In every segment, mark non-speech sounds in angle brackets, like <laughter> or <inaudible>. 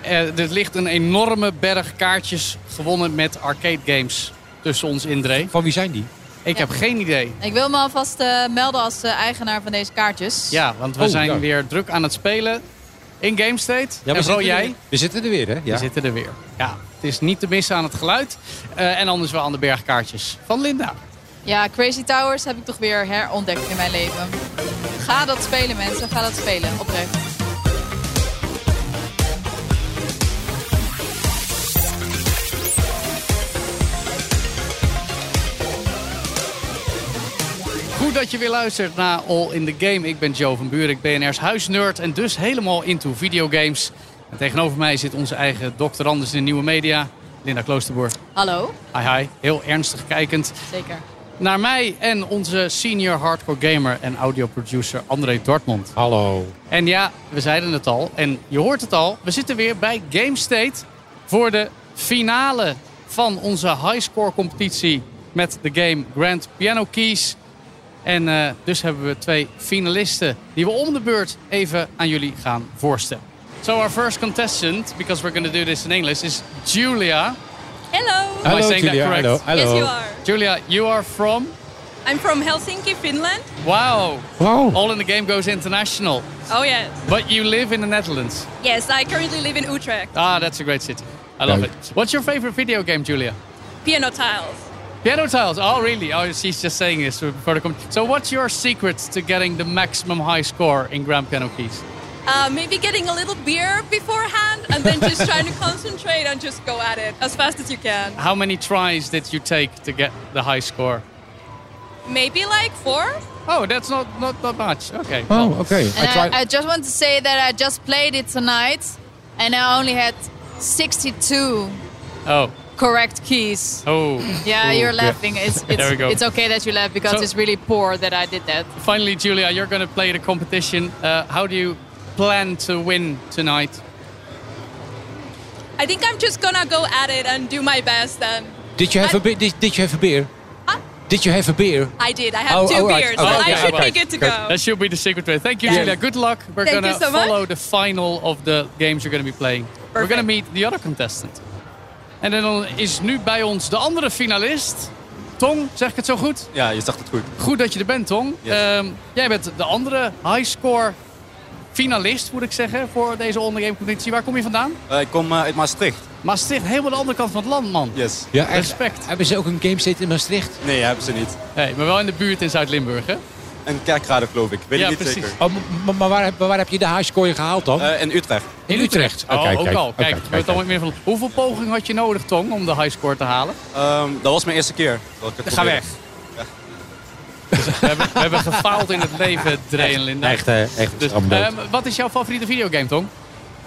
Eh, er ligt een enorme berg kaartjes gewonnen met arcade games tussen ons in, Dree. Van wie zijn die? Ik heb geen idee. Ik wil me alvast eh, melden als eh, eigenaar van deze kaartjes. Ja, want we Oh, zijn ja. weer druk aan het spelen in GameState. Ja, en vooral zitten er- jij. We zitten er weer, hè? We Ja. zitten er weer. Ja, het is niet te missen aan het geluid. Eh, en anders wel aan de bergkaartjes van Linda. ja, Crazy Towers heb ik toch weer herontdekt in mijn leven. Ga dat spelen mensen, ga dat spelen, oprecht. Goed dat je weer luistert naar All in the Game. Ik ben Joe van Buren, ik BNR's huisnerd en dus helemaal into videogames. En tegenover mij zit onze eigen Dr. Anders in de nieuwe media, Linda Kloosterboer. Hallo, Hi hi, heel ernstig kijkend. zeker. Naar mij en onze senior hardcore gamer en audioproducer André Dortmund. Hallo. En ja, we zeiden het al en je hoort het al. We zitten weer bij GameState voor de finale van onze highscore competitie met de game Grand Piano Keys. En eh, dus hebben we twee finalisten die we om de beurt even aan jullie gaan voorstellen. So our first contestant, because we're going to do this in English, is Julia. Hello. I Hallo, saying that Julia. correct? Hallo. Yes, Hallo. you are. Julia, you are from? I'm from Helsinki, Finland. Wow, Wow. All in the Game goes international. Oh yes. But you live in the Netherlands. Yes, I currently live in Utrecht. Ah, that's a great city. I love Leuk. it. What's your favorite video game, Julia? Piano tiles. Piano Tiles. Oh, really? Oh, she's just saying this for the com- So, what's your secret to getting the maximum high score in Grand Piano Keys? Uh, maybe getting a little beer beforehand and then just trying to <laughs> concentrate and just go at it as fast as you can. How many tries did you take to get the high score? Maybe like four. Oh, that's not not, not much. Okay. Oh, well, oké. Okay. I And tried- I, I just want to say that I just played it tonight. And I only had 62 Oh. correct keys. Oh. Yeah, you're yeah. laughing. It's, <laughs> it's, There we go. it's okay that you laugh because So- it's really poor that I did that. Finally, Julia, you're going to play the competition. Uh, how do you plan to win tonight? I think I'm just gonna go at it and do my best. And Did you have a beer? Did, did you have a beer? Ah. Did you have a beer? I did. I have Oh, two all right. beers, Oh, so okay. I should All right. be good to Good. go. That should be the secret way. Thank you, Yes. Julia. Good luck. We're Thank gonna you so much. follow the final of the games you're gonna be playing. We're Perfect. gonna meet the other contestant. En dan is nu bij ons de andere finalist. Tong, zeg ik het zo goed? Ja, je zag het goed. Goed dat je er bent, Tong. Yes. Ehm, jij bent de andere highscore finalist, moet ik zeggen, voor deze ondergame competitie. Waar kom je vandaan? Eh, ik kom eh, uit Maastricht. Maastricht, helemaal de andere kant van het land, man. Yes. Ja, echt. Respect. Hebben ze ook een game zitten in Maastricht? Nee, hebben ze niet. Hey, maar wel in de buurt in Zuid-Limburg, hè? Een kerkrade geloof ik. Weet Ja, ik niet precies. zeker. Oh, m- maar, waar, heb- waar heb je de highscore gehaald dan? Eh, in Utrecht. in Utrecht. Oh, Oké, ook kijk, al. oké, Kijk, je bent kijk, kijk. allemaal meer van... Hoeveel poging had je nodig, Tong, om de highscore te halen? Ehm, dat was mijn eerste keer. Dat ik het Ga probeerde. weg. We hebben, we hebben gefaald in het leven, Dre en Linda. Echt, hè, echt. Dus, allemaal ehm, wat is jouw favoriete videogame, Tom?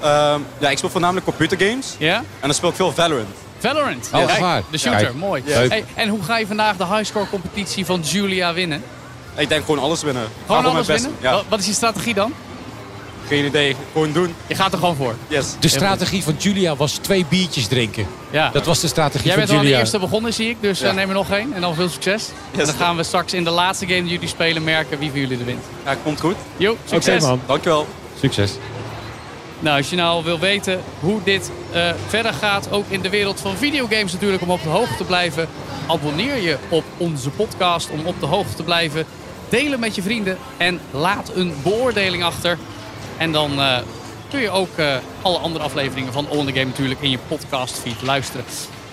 Ehm, ja, ik speel voornamelijk computergames. Ja? En dan speel ik veel Valorant. Valorant. Oh, Ja, echt waar? De shooter, Kijk. mooi. Leuk. Hey, en hoe ga je vandaag de highscore competitie van Julia winnen? Ik denk gewoon alles winnen. Ga Gewoon mijn alles best winnen? Oh. doen. Wat, wat is je strategie dan? Ja, geen idee. Gewoon doen. Je gaat er gewoon voor. Yes. de strategie van Julia was twee biertjes drinken. Ja. Dat was de strategie Jij van bent al aan de Julia. eerste begonnen, zie ik. Dus Ja. eh, neem er nog één. En dan veel succes. En dan gaan we straks in de laatste game die jullie spelen merken wie van jullie er wint. Ja, komt goed. Jo, Oké succes. man, Dankjewel. succes. Nou, als je nou wil weten hoe dit eh, verder gaat, ook in de wereld van videogames natuurlijk, om op de hoogte te blijven, abonneer je op onze podcast om op de hoogte te blijven. Deel hem met je vrienden en laat een beoordeling achter. En dan eh, kun je ook eh, alle andere afleveringen van On The Game natuurlijk in je podcastfeed luisteren.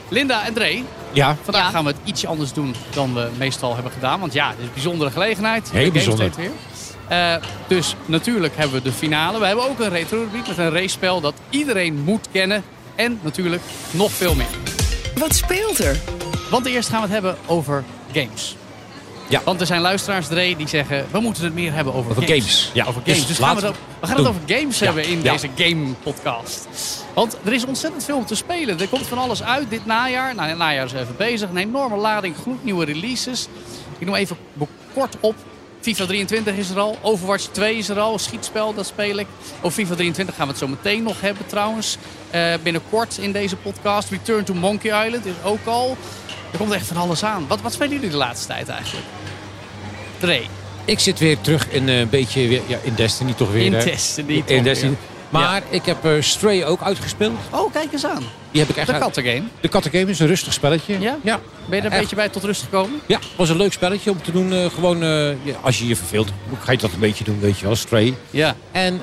Linda en Dre, Ja, vandaag Ja. gaan we het ietsje anders doen dan we meestal hebben gedaan. Want ja, dit is een bijzondere gelegenheid. Heel Bij bijzonder. GameState Weer. Eh, dus natuurlijk hebben we de finale. We hebben ook een retro rubriek met een race-spel dat iedereen moet kennen. En natuurlijk nog veel meer. Wat speelt er? Want eerst gaan we het hebben over games. Ja. Want er zijn luisteraars, Dre, die zeggen... we moeten het meer hebben over, Over games. Ja. Over games. Dus Dus, gaan we, laten het, we ook- we gaan doen. het over games Ja. hebben in Ja. deze game-podcast. Want er is ontzettend veel om te spelen. Er komt van alles uit dit najaar. Nou, het najaar is even bezig. Een enorme lading gloednieuwe releases. Ik noem even kort op. FIFA 23 is er al. Overwatch 2 is er al. Schietspel, dat speel ik. Over FIFA 23 gaan we het zo meteen nog hebben trouwens. Eh, binnenkort in deze podcast. Return to Monkey Island is ook al. Er komt echt van alles aan. Wat, wat spelen jullie de laatste tijd eigenlijk? Dre, ik zit weer terug in eh, een beetje weer, ja, in Destiny toch weer. in hè? testen. die in toch Destiny. weer. Maar ik heb eh, Stray ook uitgespeeld. Oh, kijk eens aan. Die heb ik echt De uit- kattengame. De Kattengame is een rustig spelletje. Ja? Ja. Ben je daar een Echt. beetje bij tot rust gekomen? Ja, was een leuk spelletje om te doen. eh, gewoon eh, ja, als je je verveelt, ga je dat een beetje doen, weet je wel, Stray. Ja. En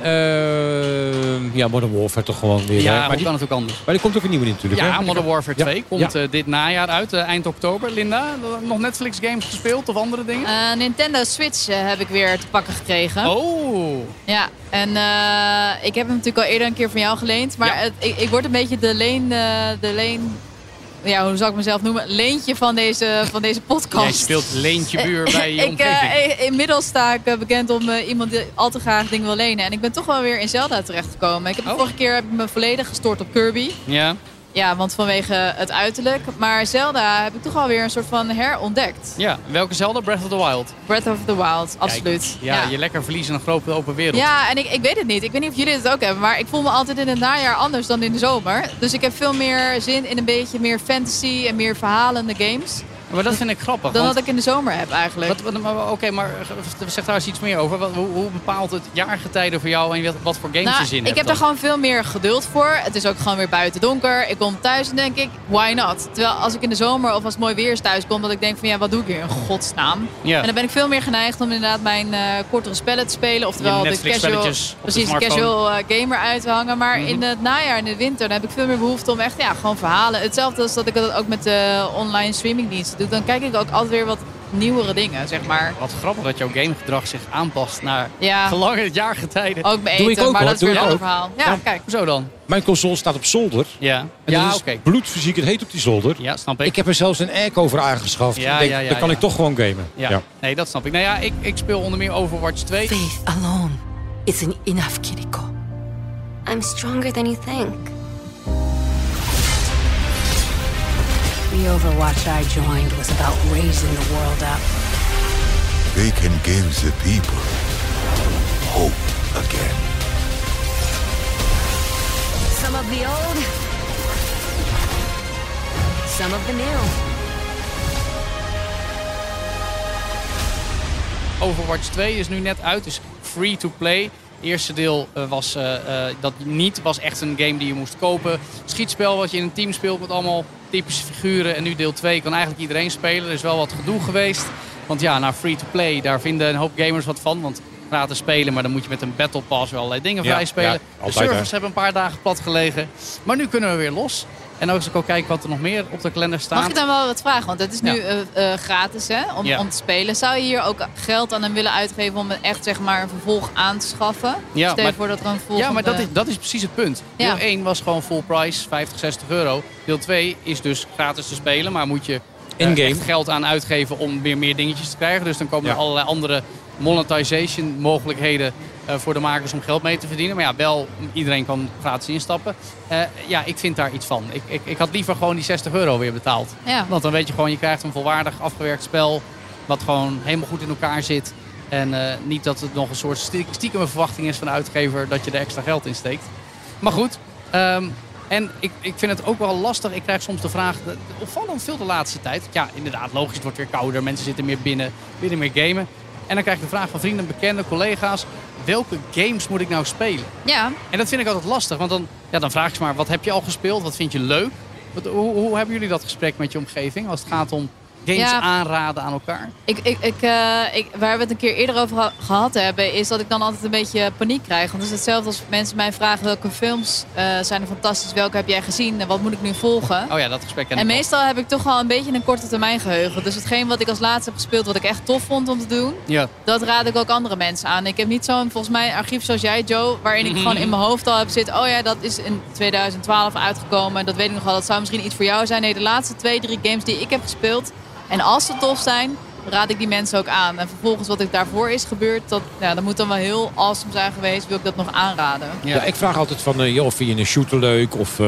eh ja, Modern Warfare toch gewoon weer. hè. Ja, maar, hoe die, kan het ook anders? maar die komt ook een nieuwe in natuurlijk. Ja, hè? Modern Warfare Ja, 2 komt eh, dit najaar uit, eh, eind oktober. Linda, nog Netflix games gespeeld of andere dingen? Eh, Nintendo Switch eh, heb ik weer te pakken gekregen. Oh, Ja, en eh, ik heb hem natuurlijk al eerder een keer van jou geleend. Maar Ja. het, ik, ik word een beetje de leen... eh, de leen ja, hoe zal ik mezelf noemen? Leentje van deze, van deze podcast. <laughs> jij speelt Leentje Buur bij je <laughs> ik, eh, omgeving. eh, inmiddels sta ik eh, bekend om eh, iemand die al te graag dingen wil lenen. En ik ben toch wel weer in Zelda terechtgekomen. Ik heb de Oh. vorige keer heb ik me volledig gestort op Kirby. ja. Ja, want vanwege het uiterlijk. Maar Zelda heb ik toch wel weer een soort van herontdekt. ja, welke Zelda? Breath of the Wild. Breath of the Wild, Kijk, absoluut. Ja, je lekker verliezen in een grote open wereld. Ja, en ik, ik weet het niet. Ik weet niet of jullie het ook hebben. Maar ik voel me altijd in het najaar anders dan in de zomer. Dus ik heb veel meer zin in een beetje meer fantasy en meer verhalende games. Maar dat vind ik grappig. Dan want- dat ik in de zomer heb eigenlijk. Wat- wat- maar- Oké, maar ge- zeg daar eens iets meer over. Wat- hoe, hoe bepaalt het jaargetijden voor jou en wat, wat voor games je nou, zin ik hebt heb dan? er gewoon veel meer geduld voor. Het is ook gewoon weer buiten donker. Ik kom thuis en denk ik, why not? Terwijl als ik in de zomer of als het mooi weer is thuis kom, dat ik denk van ja, wat doe ik hier in godsnaam? Ja. En dan ben ik veel meer geneigd om inderdaad mijn eh, kortere spellen te spelen. Oftewel Je de casual, Netflix-spelletjes op de precies, de smartphone. Mhm. casual eh, gamer uit te hangen. Maar in het najaar, in de winter, dan heb ik veel meer behoefte om echt ja, gewoon verhalen. Hetzelfde als dat ik dat ook met de online streamingdiensten doe. Dan kijk ik ook altijd weer wat nieuwere dingen, zeg maar. Wat grappig dat jouw gamegedrag zich aanpast naar Ja. verlangende jaargetijden. Ook bij eten, Doe ik ook, maar hoor. dat is Doe weer een ik ander ook. verhaal. Ja, Ja. kijk. Hoezo dan? Mijn console staat op zolder. Ja, En ja dat oké. is bloedfysiek, het heet op die zolder. Ja, snap ik. Ik heb er zelfs een airco voor aangeschaft. Ja, Ik denk, ja, ja, dan kan ja. ik toch gewoon gamen. ja. nee, dat snap ik. Nou ja, ik, ik speel onder meer Overwatch 2. Faith alone isn't enough, Kiriko. I'm stronger than you think. The Overwatch I joined was about raising the world up. They can give the people hope again. Some of the old, some of the new. Overwatch 2 is nu net uit, is free to play. Het eerste deel eh, was eh, eh, dat niet, was echt een game die je moest kopen. Schietspel wat je in een team speelt met allemaal typische figuren. En nu deel 2 kan eigenlijk iedereen spelen. Er is wel wat gedoe geweest. Want ja, nou free to play, daar vinden een hoop gamers wat van. Want gratis spelen, maar dan moet je met een battle pass wel allerlei dingen Ja, vrij spelen. ja, de altijd, hè. servers hebben een paar dagen plat gelegen. Maar nu kunnen we weer los. En als ik ook kijk wat er nog meer op de kalender staat. Mag ik dan wel wat vragen? Want het is nu Ja. eh, eh, gratis hè, om, Ja. om te spelen. Zou je hier ook geld aan hem willen uitgeven om echt zeg maar, een vervolg aan te schaffen? Ja, Stel je maar- voor dat er een eh, volgende... Ja, maar dat is, dat is precies het punt. Ja. Deel 1 was gewoon full price, 50, 60 euro. Deel 2 is dus gratis te spelen, maar moet je eh, In-game. echt geld aan uitgeven om weer meer dingetjes te krijgen. Dus dan komen er Ja. allerlei andere monetization mogelijkheden eh, voor de makers om geld mee te verdienen. Maar ja, wel, iedereen kan gratis instappen. Eh, ja, ik vind daar iets van. Ik, ik, ik had liever gewoon die 60 euro weer betaald. Ja. Want dan weet je gewoon, je krijgt een volwaardig afgewerkt spel. Wat gewoon helemaal goed in elkaar zit. En eh, niet dat het nog een soort stie- stiekem verwachting is van de uitgever dat je er extra geld in steekt. Maar goed, ehm, en ik, ik vind het ook wel lastig. Ik krijg soms de vraag, de- opvallend veel de laatste tijd. Ja, inderdaad, logisch, het wordt weer kouder. Mensen zitten meer binnen, willen meer gamen. En dan krijg ik de vraag van vrienden, bekenden, collega's. Welke games moet ik nou spelen? Ja, En dat vind ik altijd lastig, want dan, ja, dan vraag ik ze maar, wat heb je al gespeeld? Wat vind je leuk? Wat, hoe, hoe hebben jullie dat gesprek met je omgeving als het gaat om games Ja. aanraden aan elkaar? ik, ik, ik, eh, ik, waar we het een keer eerder over ha- gehad hebben... is dat ik dan altijd een beetje paniek krijg. Want het is hetzelfde als mensen mij vragen welke films eh, zijn er fantastisch... welke heb jij gezien en wat moet ik nu volgen? Oh ja, dat gesprek ken En ik wel. meestal heb ik toch wel een beetje een korte termijn geheugen. Dus hetgeen wat ik als laatste heb gespeeld, wat ik echt tof vond om te doen... Ja. Dat raad ik ook andere mensen aan. Ik heb niet zo'n, volgens mij, archief zoals jij, Joe. Waarin ik gewoon in mijn hoofd al heb zitten. Oh ja, dat is in 2012 uitgekomen. en Dat weet ik nog wel. Dat zou misschien iets voor jou zijn. Nee, de laatste twee, drie games die ik heb gespeeld. En als ze tof zijn, raad ik die mensen ook aan. En vervolgens wat ik daarvoor is gebeurd. Dat, ja, dat moet dan wel heel awesome zijn geweest. Wil ik dat nog aanraden. Ja. Ja, ik vraag altijd van, eh, joh, vind je een shooter leuk of eh,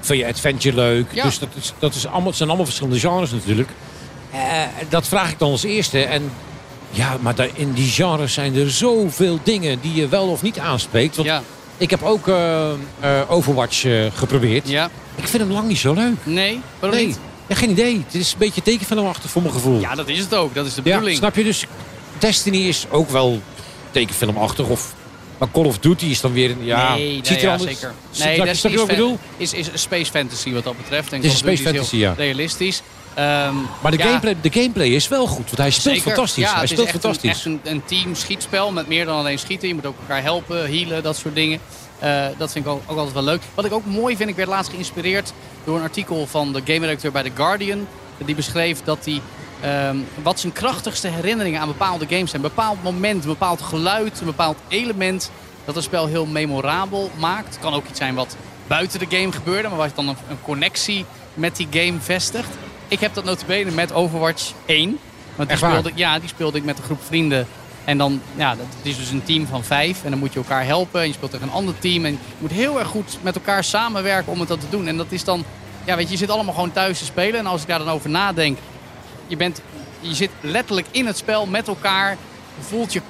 vind je adventure leuk? Ja. Dus dat, is, dat is allemaal, het zijn allemaal verschillende genres natuurlijk. Eh, dat vraag ik dan als eerste. En ja, maar daar- in die genres zijn er zoveel dingen die je wel of niet aanspreekt. Want ja, ik heb ook eh, eh, Overwatch eh, geprobeerd. ja, Ik vind hem lang niet zo leuk. nee, waarom nee, niet? Ja, geen idee. Het is een beetje tekenfilmachtig voor mijn gevoel. Ja, dat is het ook. Dat is de Ja, bedoeling. snap je? Dus Destiny is ook wel tekenfilmachtig. Of Maar Call of Duty is dan weer een... Ja, nee, ziet nou er ja, anders- zeker. Snap Nee, je- Destiny snap je is, wat ik fan- bedoel? is, is space fantasy wat dat betreft. En Dit is Call of space Duty heel fantasy, ja. Realistisch. Ehm, Maar de, ja, gameplay, de gameplay is wel goed, want hij speelt zeker. fantastisch. Ja, hij het is speelt echt fantastisch. Een, echt een, een team schietspel met meer dan alleen schieten. Je moet ook elkaar helpen, healen, dat soort dingen. Eh, dat vind ik al- ook, altijd wel leuk. Wat ik ook mooi vind, ik werd laatst geïnspireerd door een artikel van de game redacteur bij The Guardian. Die beschreef dat hij ehm, wat zijn krachtigste herinneringen aan bepaalde games zijn. Een bepaald moment, een bepaald geluid, een bepaald element dat een spel heel memorabel maakt. Het kan ook iets zijn wat buiten de game gebeurde, maar waar je dan een, een connectie met die game vestigt. Ik heb dat notabene met Overwatch 1. Want die Echt waar? speelde, ja, die speelde ik met een groep vrienden. En dan, ja, dat het is dus een team van vijf. En dan moet je elkaar helpen. En je speelt tegen een ander team. En je moet heel erg goed met elkaar samenwerken om het dat te doen. En dat is dan, ja, weet je, je zit allemaal gewoon thuis te spelen. En als ik daar dan over nadenk, je, bent, je zit letterlijk in het spel met elkaar. Je voelt je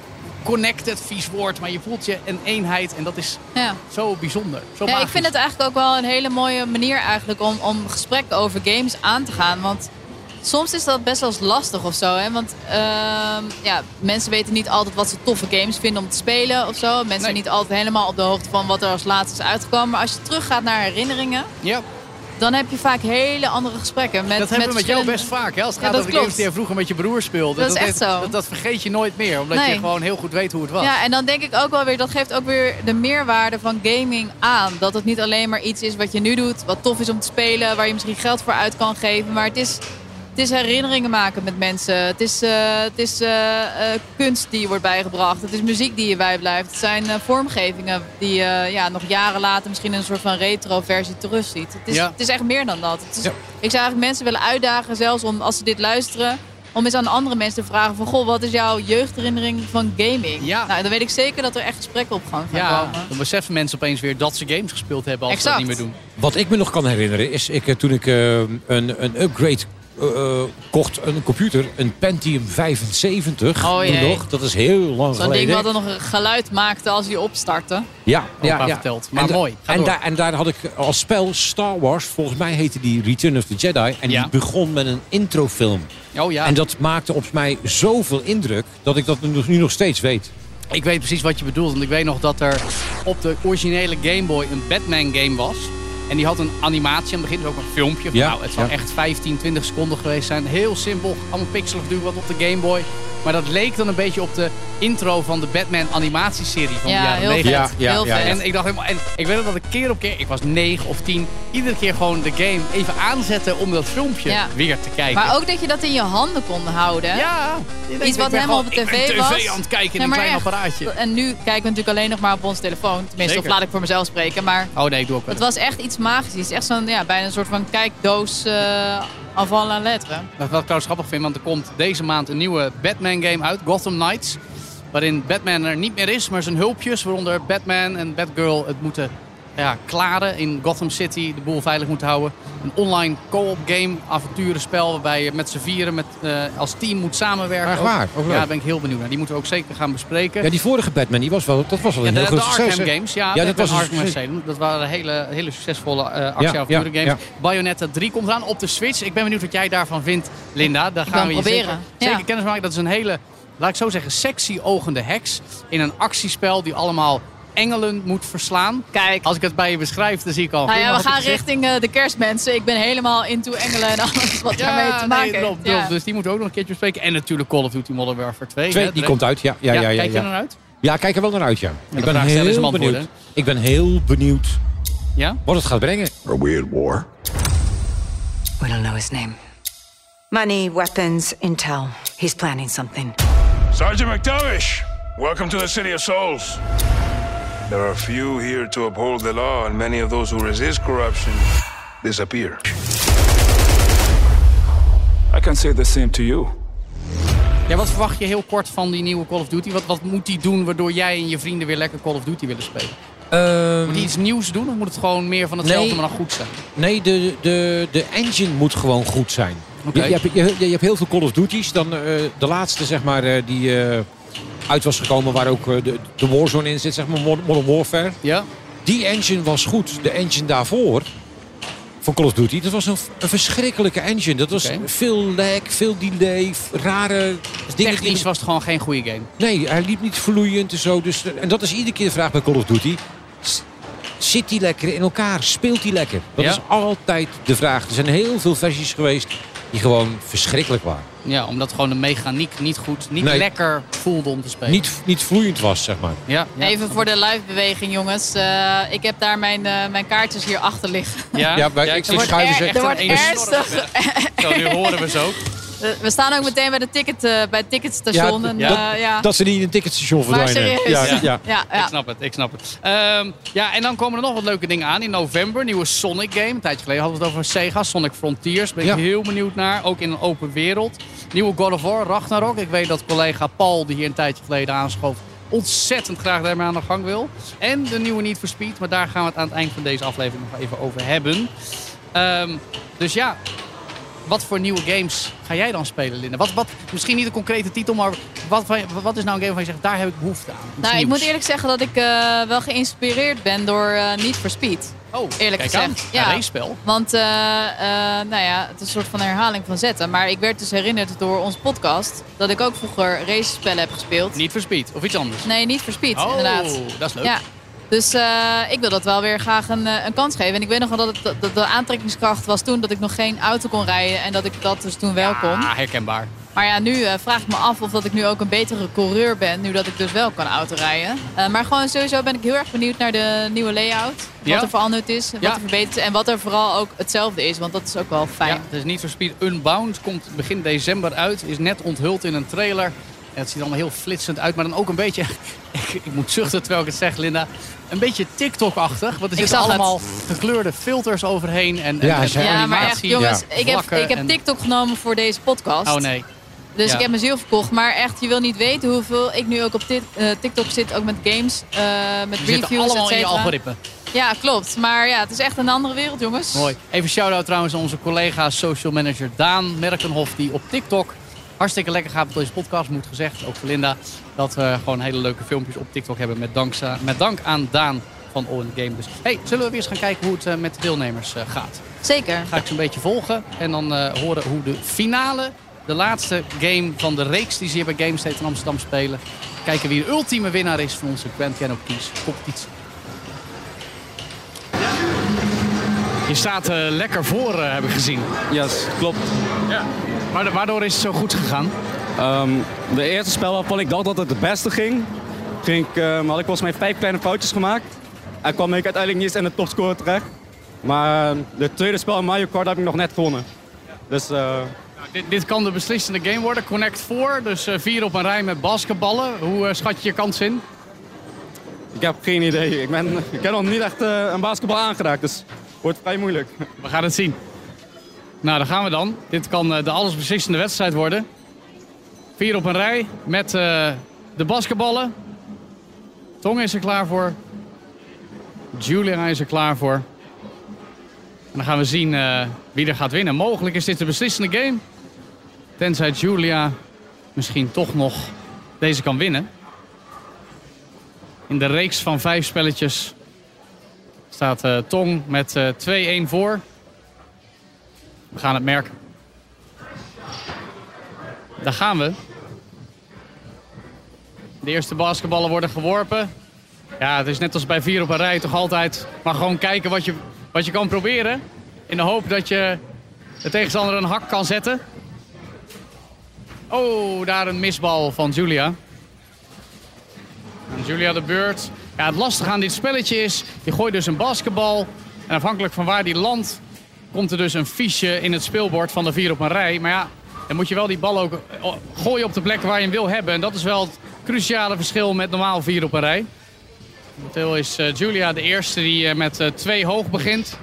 connected, vies woord, maar je voelt je een eenheid. En dat is Ja. zo bijzonder. Zo Ja, ik magisch. vind het eigenlijk ook wel een hele mooie manier eigenlijk om, om gesprekken over games aan te gaan. Want soms is dat best wel eens lastig of zo. Hè? Want ehm, ja, mensen weten niet altijd wat ze toffe games vinden om te spelen of zo. Mensen zijn Nee. niet altijd helemaal op de hoogte van wat er als laatste is uitgekomen. Maar als je teruggaat naar herinneringen, Ja, dan heb je vaak hele andere gesprekken. Met, dat hebben we met jou verschillende- best vaak. Hè? Als het Ja, gaat dat over de games klopt. die je vroeger met je broer speelde. Dat is echt zo. Dat, dat vergeet je nooit meer. Omdat Nee. je gewoon heel goed weet hoe het was. Ja, en dan denk ik ook wel weer, dat geeft ook weer de meerwaarde van gaming aan. Dat het niet alleen maar iets is wat je nu doet, wat tof is om te spelen, waar je misschien geld voor uit kan geven. Maar het is, het is herinneringen maken met mensen. Het is, eh, het is eh, eh, kunst die je wordt bijgebracht. Het is muziek die je bijblijft. Het zijn eh, vormgevingen die je ja, nog jaren later misschien in een soort van retro versie terugziet. Het is, Ja. het is echt meer dan dat. Het is- Ja. Ik zou eigenlijk mensen willen uitdagen, zelfs om, als ze dit luisteren, om eens aan andere mensen te vragen van... Goh, wat is jouw jeugdherinnering van gaming? Ja. Nou, dan weet ik zeker dat er echt gesprekken op gang gaan Ja, komen. dan beseffen mensen opeens weer dat ze games gespeeld hebben als Exact. ze dat niet meer doen. Wat ik me nog kan herinneren is ik, eh, toen ik eh, een, een upgrade eh, eh, kocht, een computer, een Pentium 75. Oh, toen jee. nog. Dat is heel lang Zo'n ding geleden. wat dan nog een geluid maakte als hij opstartte. Ja, Opa ja, ja. vertelt. Maar en da- mooi. Ga En, door. daar- en daar had ik als spel Star Wars, volgens mij heette die Return of the Jedi. En Ja. die begon met een introfilm. Oh ja, En dat maakte op mij zoveel indruk dat ik dat nu, nu nog steeds weet. ik weet precies wat je bedoelt. Want ik weet nog dat er op de originele Game Boy een Batman game was. En die had een animatie aan het begin, dus ook een filmpje. Van, Ja, nou, het zou ja. echt 15, 20 seconden geweest zijn. Heel simpel, allemaal pixelig duur wat op de Game Boy. Maar dat leek dan een beetje op de intro van de Batman animatieserie van de Ja, jaren heel 90. vet. Ja, ja, heel ja, vet. ja. En ik dacht helemaal, en ik weet nog dat ik keer op keer, ik was 9 of 10, iedere keer gewoon de game even aanzetten om dat filmpje Ja. weer te kijken. Maar ook dat je dat in je handen kon houden. hè? Ja. Iets wat helemaal op de Ik ben tv was. tv aan het kijken in Ja, een maar klein echt. apparaatje. En nu kijken we natuurlijk alleen nog maar op onze telefoon. Tenminste, Zeker. of laat ik voor mezelf spreken. Maar Oh nee, ik doe ook wel. het was echt iets magisch. Het is Echt zo'n, ja, bijna een soort van kijkdoos eh avant la lettre. Wat ik trouwens grappig vind, want er komt deze maand een nieuwe Batman game uit, Gotham Knights. Waarin Batman er niet meer is, maar zijn hulpjes, waaronder Batman en Batgirl, het moeten ja, klaren in Gotham City. De boel veilig moeten houden. Een online co-op game, avonturenspel, waarbij je met z'n vieren met, eh, als team moet samenwerken. Echt waar? Ja, Ook leuk. daar ben ik heel benieuwd naar. Die moeten we ook zeker gaan bespreken. Ja, die vorige Batman, die was wel, dat was wel Ja, een de, heel de groot Arkham succes. hè? Games, ja, Ja, dat, dat was een Arkham succes. Asylum. Dat waren hele, hele succesvolle eh Ja, actieavonturen ja, games. Bayonetta 3 komt eraan op de Switch. Ik ben benieuwd wat jij daarvan vindt, Linda. Daar gaan kan we je proberen, zeker, ja. zeker kennis maken. Dat is een hele, laat ik zo zeggen, sexy ogende heks in een actiespel die allemaal engelen moet verslaan. Kijk. Als ik het bij je beschrijf, dan zie ik al. Nou ja, glimlach op we je gaan gezicht. richting eh, de kerstmensen. Ik ben helemaal into engelen en alles wat Ja, daarmee te maken nee, heeft. klopt, Ja. klopt. Dus die moeten we ook nog een keertje bespreken. En natuurlijk Call of Duty Modern Warfare 2. Twee, hè, die Dre- komt uit, ja. Ja, ja, ja, ja, kijk je er naar uit? Ja, kijk er wel naar uit, ja. ik ben vraag stellen is een heel antwoord, benieuwd. Ik ben heel benieuwd Ja? wat het gaat brengen. Are we at war? We don't know his name. Money, weapons, intel. He's planning something. Sergeant McTavish, welcome to the City of Souls. There are few here to uphold the law, and many of those who resist corruption disappear. I can say the same to you. Ja, wat verwacht je heel kort van die nieuwe Call of Duty? Wat, wat moet die doen waardoor jij en je vrienden weer lekker Call of Duty willen spelen? Moet die iets nieuws doen of moet het gewoon meer van hetzelfde, Mm. Nee. maar dan goed zijn? Nee, de, de, de engine moet gewoon goed zijn. Oké. Je, je, hebt, je, je hebt heel veel Call of Duties. Dan, eh, de laatste zeg maar, eh, die eh, uit was gekomen waar ook eh, de, de Warzone in zit, zeg maar, Modern Warfare. Ja? Die engine was goed. De engine daarvoor van Call of Duty. Dat was een, een verschrikkelijke engine. Dat was Oké. veel lag, veel delay, f- rare dingen. Technisch was het gewoon geen goede game. Nee, hij liep niet vloeiend en zo. Dus, en dat is iedere keer de vraag bij Call of Duty. S- Zit die lekker in elkaar? Speelt die lekker? Dat Ja. is altijd de vraag. Er zijn heel veel versies geweest die gewoon verschrikkelijk waren. Ja, omdat gewoon de mechaniek niet goed, niet Nee. lekker voelde om te spelen. Niet, niet vloeiend was, zeg maar. Ja, ja. Even voor de live beweging, jongens. Eh, ik heb daar mijn, eh, mijn kaartjes hier achter liggen. Ja, Ja, maar ik ik zie schuiven er- ze. echt er wordt een enorme ernstig. Zo, nu horen we ze ook. We- We staan ook meteen bij, de ticket, eh, bij het ticketstation. en, dat, eh, ja. dat ze niet in een ticketstation Maar verdwijnen. serieus. Ja, ja. Ja, Nou, ja. Ik snap het, ik snap het. Ehm, ja, en dan komen er nog wat leuke dingen aan. In november, nieuwe Sonic game. Een tijdje geleden hadden we het over Sega, Sonic Frontiers. Ben ik Ja. heel benieuwd naar, ook in een open wereld. Nieuwe God of War, Ragnarok. Ik weet dat collega Paul, die hier een tijdje geleden aanschoof... ontzettend graag daarmee aan de gang wil. En de nieuwe Need for Speed, maar daar gaan we het aan het eind van deze aflevering nog even over hebben. Ehm, dus ja, wat voor nieuwe games ga jij dan spelen, Linda? Wat, wat, misschien niet een concrete titel, maar wat, van- wat is nou een game waarvan je zegt... daar heb ik behoefte aan? Iets Nou, ik nieuws. moet eerlijk zeggen dat ik eh, wel geïnspireerd ben door eh Need for Speed. Oh, Eerlijk kijk gezegd, aan. ja. Een race-spel. Want eh, eh, nou ja, het is een soort van herhaling van zetten. Maar ik werd dus herinnerd door onze podcast dat ik ook vroeger race-spellen heb gespeeld. Niet voor Speed of iets anders. Nee, niet voor Speed, oh, inderdaad. dat is leuk. Ja. Dus eh, ik wil dat wel weer graag een, eh, een kans geven. En ik weet nog wel dat, het, dat- dat de aantrekkingskracht was toen dat ik nog geen auto kon rijden. En dat ik dat dus toen wel kon. Ah, herkenbaar. Maar ja, nu eh, vraag ik me af of dat ik nu ook een betere coureur ben. Nu dat ik dus wel kan autorijden. Eh, maar gewoon sowieso ben ik heel erg benieuwd naar de nieuwe layout. Wat Ja. er veranderd is, wat Ja. er verbeterd is. En wat er vooral ook hetzelfde is. Want dat is ook wel fijn. Ja, dus niet voor Speed Unbound komt begin december uit. Is net onthuld in een trailer. En het ziet er allemaal heel flitsend uit. Maar dan ook een beetje, <laughs> ik, ik moet zuchten terwijl ik het zeg Linda. Een beetje TikTok-achtig. Want er Ik zitten zag het. allemaal gekleurde filters overheen. En, en, Ja, en ze- Ja, maar echt, animatie, jongens, ja. ik heb, vlakken ik heb en- TikTok genomen voor deze podcast. Oh nee. Dus Ja. ik heb mijn ziel verkocht. Maar echt, je wil niet weten hoeveel ik nu ook op dit, eh, TikTok zit. Ook met games, eh, met Die reviews, zitten allemaal in je et cetera. algoritme. Ja, klopt. Maar ja, het is echt een andere wereld, jongens. Mooi. Even shout-out trouwens aan onze collega social manager Daan Merkenhof. Die op TikTok hartstikke lekker gaat met deze podcast. Moet gezegd, ook voor Linda. Dat we gewoon hele leuke filmpjes op TikTok hebben. Met, dankza- met dank aan Daan van All in the Game. Dus hey, zullen we weer eens gaan kijken hoe het eh, met de deelnemers eh, gaat. Zeker. Ga ik ze een beetje volgen. En dan eh, horen hoe de finale, de laatste game van de reeks die ze hier bij Gamestate in Amsterdam spelen. Kijken wie de ultieme winnaar is van onze Grand Canyon Keys competitie. Je staat eh, lekker voor, eh, heb ik gezien. Yes, klopt. Ja. Maar waardoor is het zo goed gegaan? Ehm, de eerste spel waarvan ik dacht dat het het beste ging, ging ik, ehm, had ik volgens mij vijf kleine foutjes gemaakt. En kwam ik uiteindelijk niet eens in de topscore terecht. Maar ehm, de tweede spel in Mario Kart heb ik nog net gewonnen. Dus eh, Nou, Dit, dit kan de beslissende game worden. Connect 4, dus eh, vier op een rij met basketballen. Hoe eh, schat je je kans in? ik heb geen idee. Ik, ben, <laughs> ik heb nog niet echt eh, een basketbal aangeraakt, dus wordt vrij moeilijk. <laughs> We gaan het zien. Nou, daar gaan we dan. Dit kan eh, de allesbeslissende wedstrijd worden. Vier op een rij met eh, de basketballen. Tong is er klaar voor. Julia is er klaar voor. En dan gaan we zien eh, wie er gaat winnen. Mogelijk is dit de beslissende game. Tenzij Julia misschien toch nog deze kan winnen. In de reeks van vijf spelletjes staat eh, Tong met eh 2-1 voor. We gaan het merken. Daar gaan we. De eerste basketballen worden geworpen. Ja, het is net als bij vier op een rij toch altijd. Maar gewoon kijken wat je, wat je kan proberen. In de hoop dat je de tegenstander een hak kan zetten. Oh, daar een misbal van Julia. Aan Julia de beurt. Ja, het lastige aan dit spelletje is, je gooit dus een basketbal. En afhankelijk van waar die landt, komt er dus een fiche in het speelbord van de vier op een rij. Maar ja, dan moet je wel die bal ook eh, gooien op de plek waar je hem wil hebben. En dat is wel het cruciale verschil met normaal vier op een rij. Momenteel is eh, Julia de eerste die eh, met eh, twee hoog begint.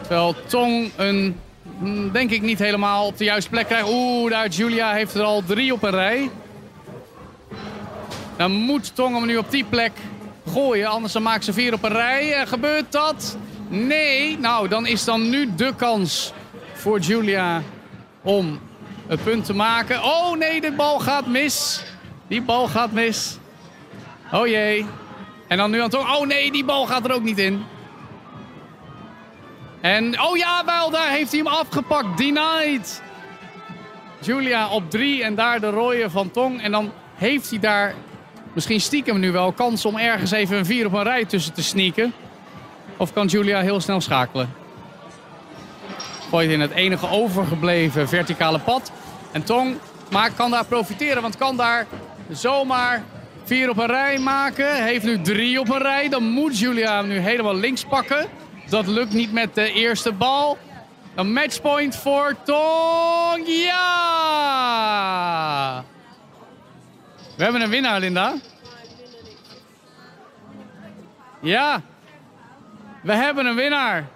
Terwijl Tong een, mm, denk ik, niet helemaal op de juiste plek krijgt. Oeh, daar Julia heeft er al drie op een rij. Dan moet Tong hem nu op die plek gooien, anders dan maakt ze vier op een rij. Eh, gebeurt dat? Nee. Nou, dan is dan nu de kans voor Julia om het punt te maken. Oh nee, de bal gaat mis. Die bal gaat mis. Oh jee. En dan nu aan Tong. Oh nee, die bal gaat er ook niet in. En oh ja, wel, daar heeft hij hem afgepakt. Denied. Julia op drie en daar de rooie van Tong. En dan heeft hij daar misschien stiekem nu wel kans om ergens even een vier op een rij tussen te sneaken. Of kan Julia heel snel schakelen? Gooit in het enige overgebleven verticale pad. En Tong maar kan daar profiteren, want kan daar zomaar vier op een rij maken. Heeft nu drie op een rij. Dan moet Julia hem nu helemaal links pakken. Dat lukt niet met de eerste bal. Een matchpoint voor Tong. Ja! We hebben een winnaar, Linda. Ja, we hebben een winnaar.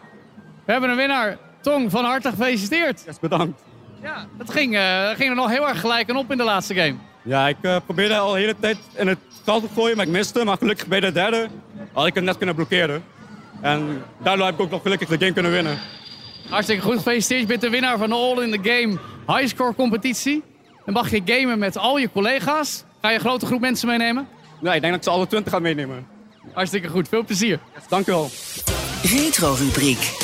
We hebben een winnaar. Tong, van harte gefeliciteerd. Yes, bedankt. Ja, het ging, eh, ging er nog heel erg gelijk aan op in de laatste game. Ja, ik eh, probeerde al de hele tijd in het kant te gooien, maar ik miste. Maar gelukkig bij de derde had ik hem net kunnen blokkeren. En daardoor heb ik ook nog gelukkig de game kunnen winnen. Hartstikke goed. Gefeliciteerd. Je bent de winnaar van de All in the Game Highscore competitie. Dan mag je gamen met al je collega's. Ga je een grote groep mensen meenemen? Nee, ik denk dat ik ze alle 20 ga meenemen. Hartstikke goed. Veel plezier. Dank u wel. Retro-rubriek.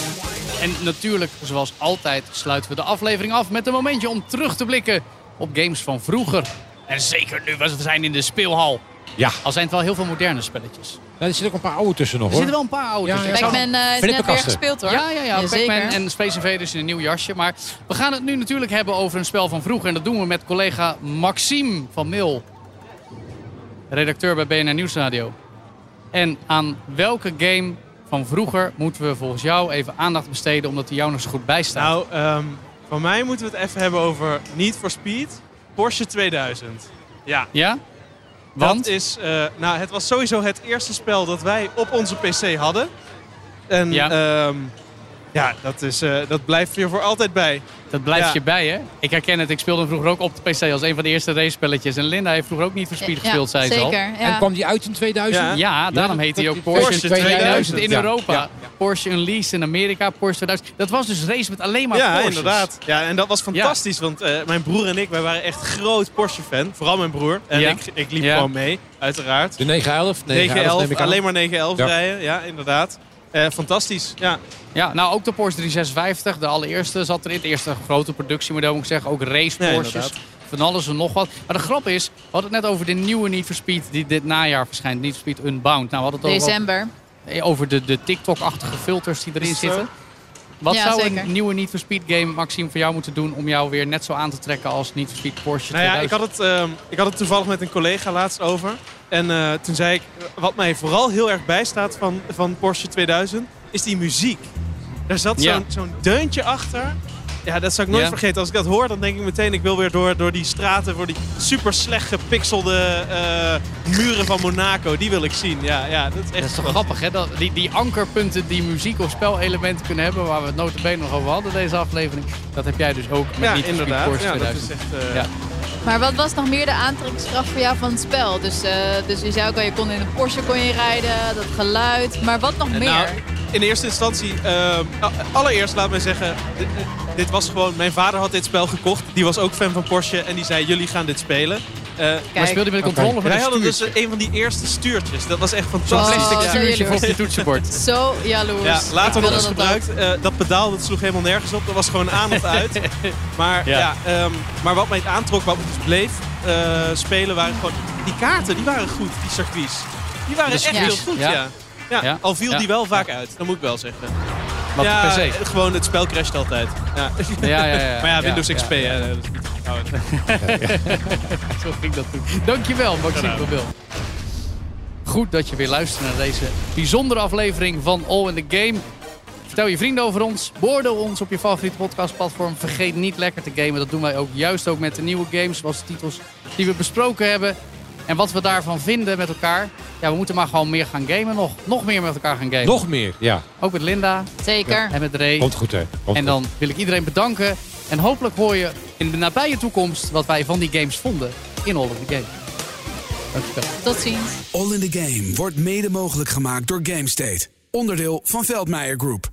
En natuurlijk, zoals altijd, sluiten we de aflevering af met een momentje om terug te blikken op games van vroeger. En zeker nu, want we zijn in de speelhal. Ja. Al zijn het wel heel veel moderne spelletjes. Nou, er zitten ook een paar oude tussen nog Er hoor. zitten wel een paar auto's. Ja, ja. Ik zou- Pac-Man eh, is net weer Flipperkasten. gespeeld hoor. Ja, ja, ja. Pac-Man zeker. en Space Invaders in een nieuw jasje. Maar we gaan het nu natuurlijk hebben over een spel van vroeger. En dat doen we met collega Maxime van Mil. Redacteur bij BNR Nieuwsradio. En aan welke game van vroeger moeten we volgens jou even aandacht besteden... omdat die jou nog zo goed bijstaat? Nou, ehm, van mij moeten we het even hebben over Need for Speed, Porsche 2000. Ja. Ja? Want? Dat is, eh, nou, het was sowieso het eerste spel dat wij op onze PC hadden. En Ja. ja, ja dat, is, eh, dat blijft je voor altijd bij. Dat blijft Ja. je bij, hè? Ik herken het. Ik speelde hem vroeger ook op de PC als een van de eerste race-spelletjes. En Linda heeft vroeger ook niet verspied Ja, gespeeld, zei ze al. zeker, ja. En kwam die uit in 2000? Ja, Ja, daarom dat heet hij klopt. ook Porsche, Porsche 2000, 2000 in ja. Europa. Ja, Porsche Unleashed in Amerika, Porsche 2000. Dat was dus race met alleen maar ja, Porsches. inderdaad. Ja, en dat was fantastisch, want eh, mijn broer en ik, wij waren echt groot Porsche-fan. Vooral mijn broer. En Ja. ik, ik liep Ja. gewoon mee, uiteraard. De 911? 911 Dus neem 911, ik aan. alleen maar 911 Ja. rijden. Ja, inderdaad. Eh, fantastisch, ja. Ja, nou ook de Porsche 356, de allereerste, zat erin. Het eerste grote productiemodel, moet ik zeggen. Ook race Ja, Porsches. inderdaad. van alles en nog wat. Maar de grap is, we hadden het net over de nieuwe Need for Speed die dit najaar verschijnt. Need for Speed Unbound. Nou, we hadden het over- December. Over de, de TikTok-achtige filters die Is erin het zo? zitten. Wat Ja, zou zeker. een nieuwe Need for Speed game, Maxime, voor jou moeten doen om jou weer net zo aan te trekken als Need for Speed Porsche Nou ja, 2000? ik had, het, ehm, ik had het toevallig met een collega laatst over. En eh, toen zei ik, wat mij vooral heel erg bijstaat van, van Porsche 2000, is die muziek. Daar zat Ja. zo'n zo'n deuntje achter. Ja, dat zou ik nooit Ja. vergeten. Als ik dat hoor, dan denk ik meteen, ik wil weer door, door die straten, door die super slecht gepixelde eh, muren van Monaco. Die wil ik zien. Ja, ja, dat is echt Dat is toch fantastisch. grappig, hè? Dat, die, die ankerpunten die muziek of spelelementen kunnen hebben... waar we het notabene nog over hadden deze aflevering... dat heb jij dus ook met Ja, Need for Speed inderdaad. Porsche Ja, dat 2000. is echt, eh, Ja. Maar wat was nog meer de aantrekkingskracht voor jou van het spel? Dus, eh, dus je zei ook al, je kon in een Porsche kon je rijden, dat geluid. Maar wat nog meer? Nou, in eerste instantie, ehm, a- allereerst laat mij zeggen, dit, dit was gewoon, mijn vader had dit spel gekocht. Die was ook fan van Porsche en die zei, jullie gaan dit spelen. Eh, Maar speelde je met de controle of met Wij een hadden dus een van die eerste stuurtjes. Dat was echt fantastisch. plastic Oh, stuurtje jaloers. voor op je toetsenbord. Zo jaloers. Ja, later Ik nog wilde eens dat gebruikt. Eh, dat pedaal dat sloeg helemaal nergens op. Dat was gewoon aan of <laughs> uit. Maar, ja. Ja. ehm, maar wat mij het aantrok, wat me dus bleef eh, spelen, waren gewoon... Die kaarten, die waren goed, die circuits. Die waren De echt heel circuits, goed, ja. ja. ja. Ja. Al viel Ja. die wel vaak uit, dat moet ik wel zeggen. Wat ja, eh, per se? Gewoon het spel crasht altijd. Ja. Ja, ja, ja. <laughs> maar ja, Windows Ja, XP, ja, ja. hè, dat is niet te vertrouwen. Zo ging <laughs> dat toen. Dankjewel, Maxime van Wil. Goed dat je weer luistert naar deze bijzondere aflevering van All in the Game. Vertel je vrienden over ons. Beoordeel ons op je favoriete podcastplatform. Vergeet niet lekker te gamen. Dat doen wij ook juist ook met de nieuwe games, zoals de titels die we besproken hebben. En wat we daarvan vinden met elkaar. Ja, we moeten maar gewoon meer gaan gamen nog. Nog meer met elkaar gaan gamen. Nog meer, ja. Ook met Linda. Zeker. En met Ray. Komt goed hè. Komt en goed. dan wil ik iedereen bedanken. En hopelijk hoor je in de nabije toekomst wat wij van die games vonden in All of the Game. Dankjewel. Tot ziens. All in the Game wordt mede mogelijk gemaakt door GameState. Onderdeel van Veldmeijer Group.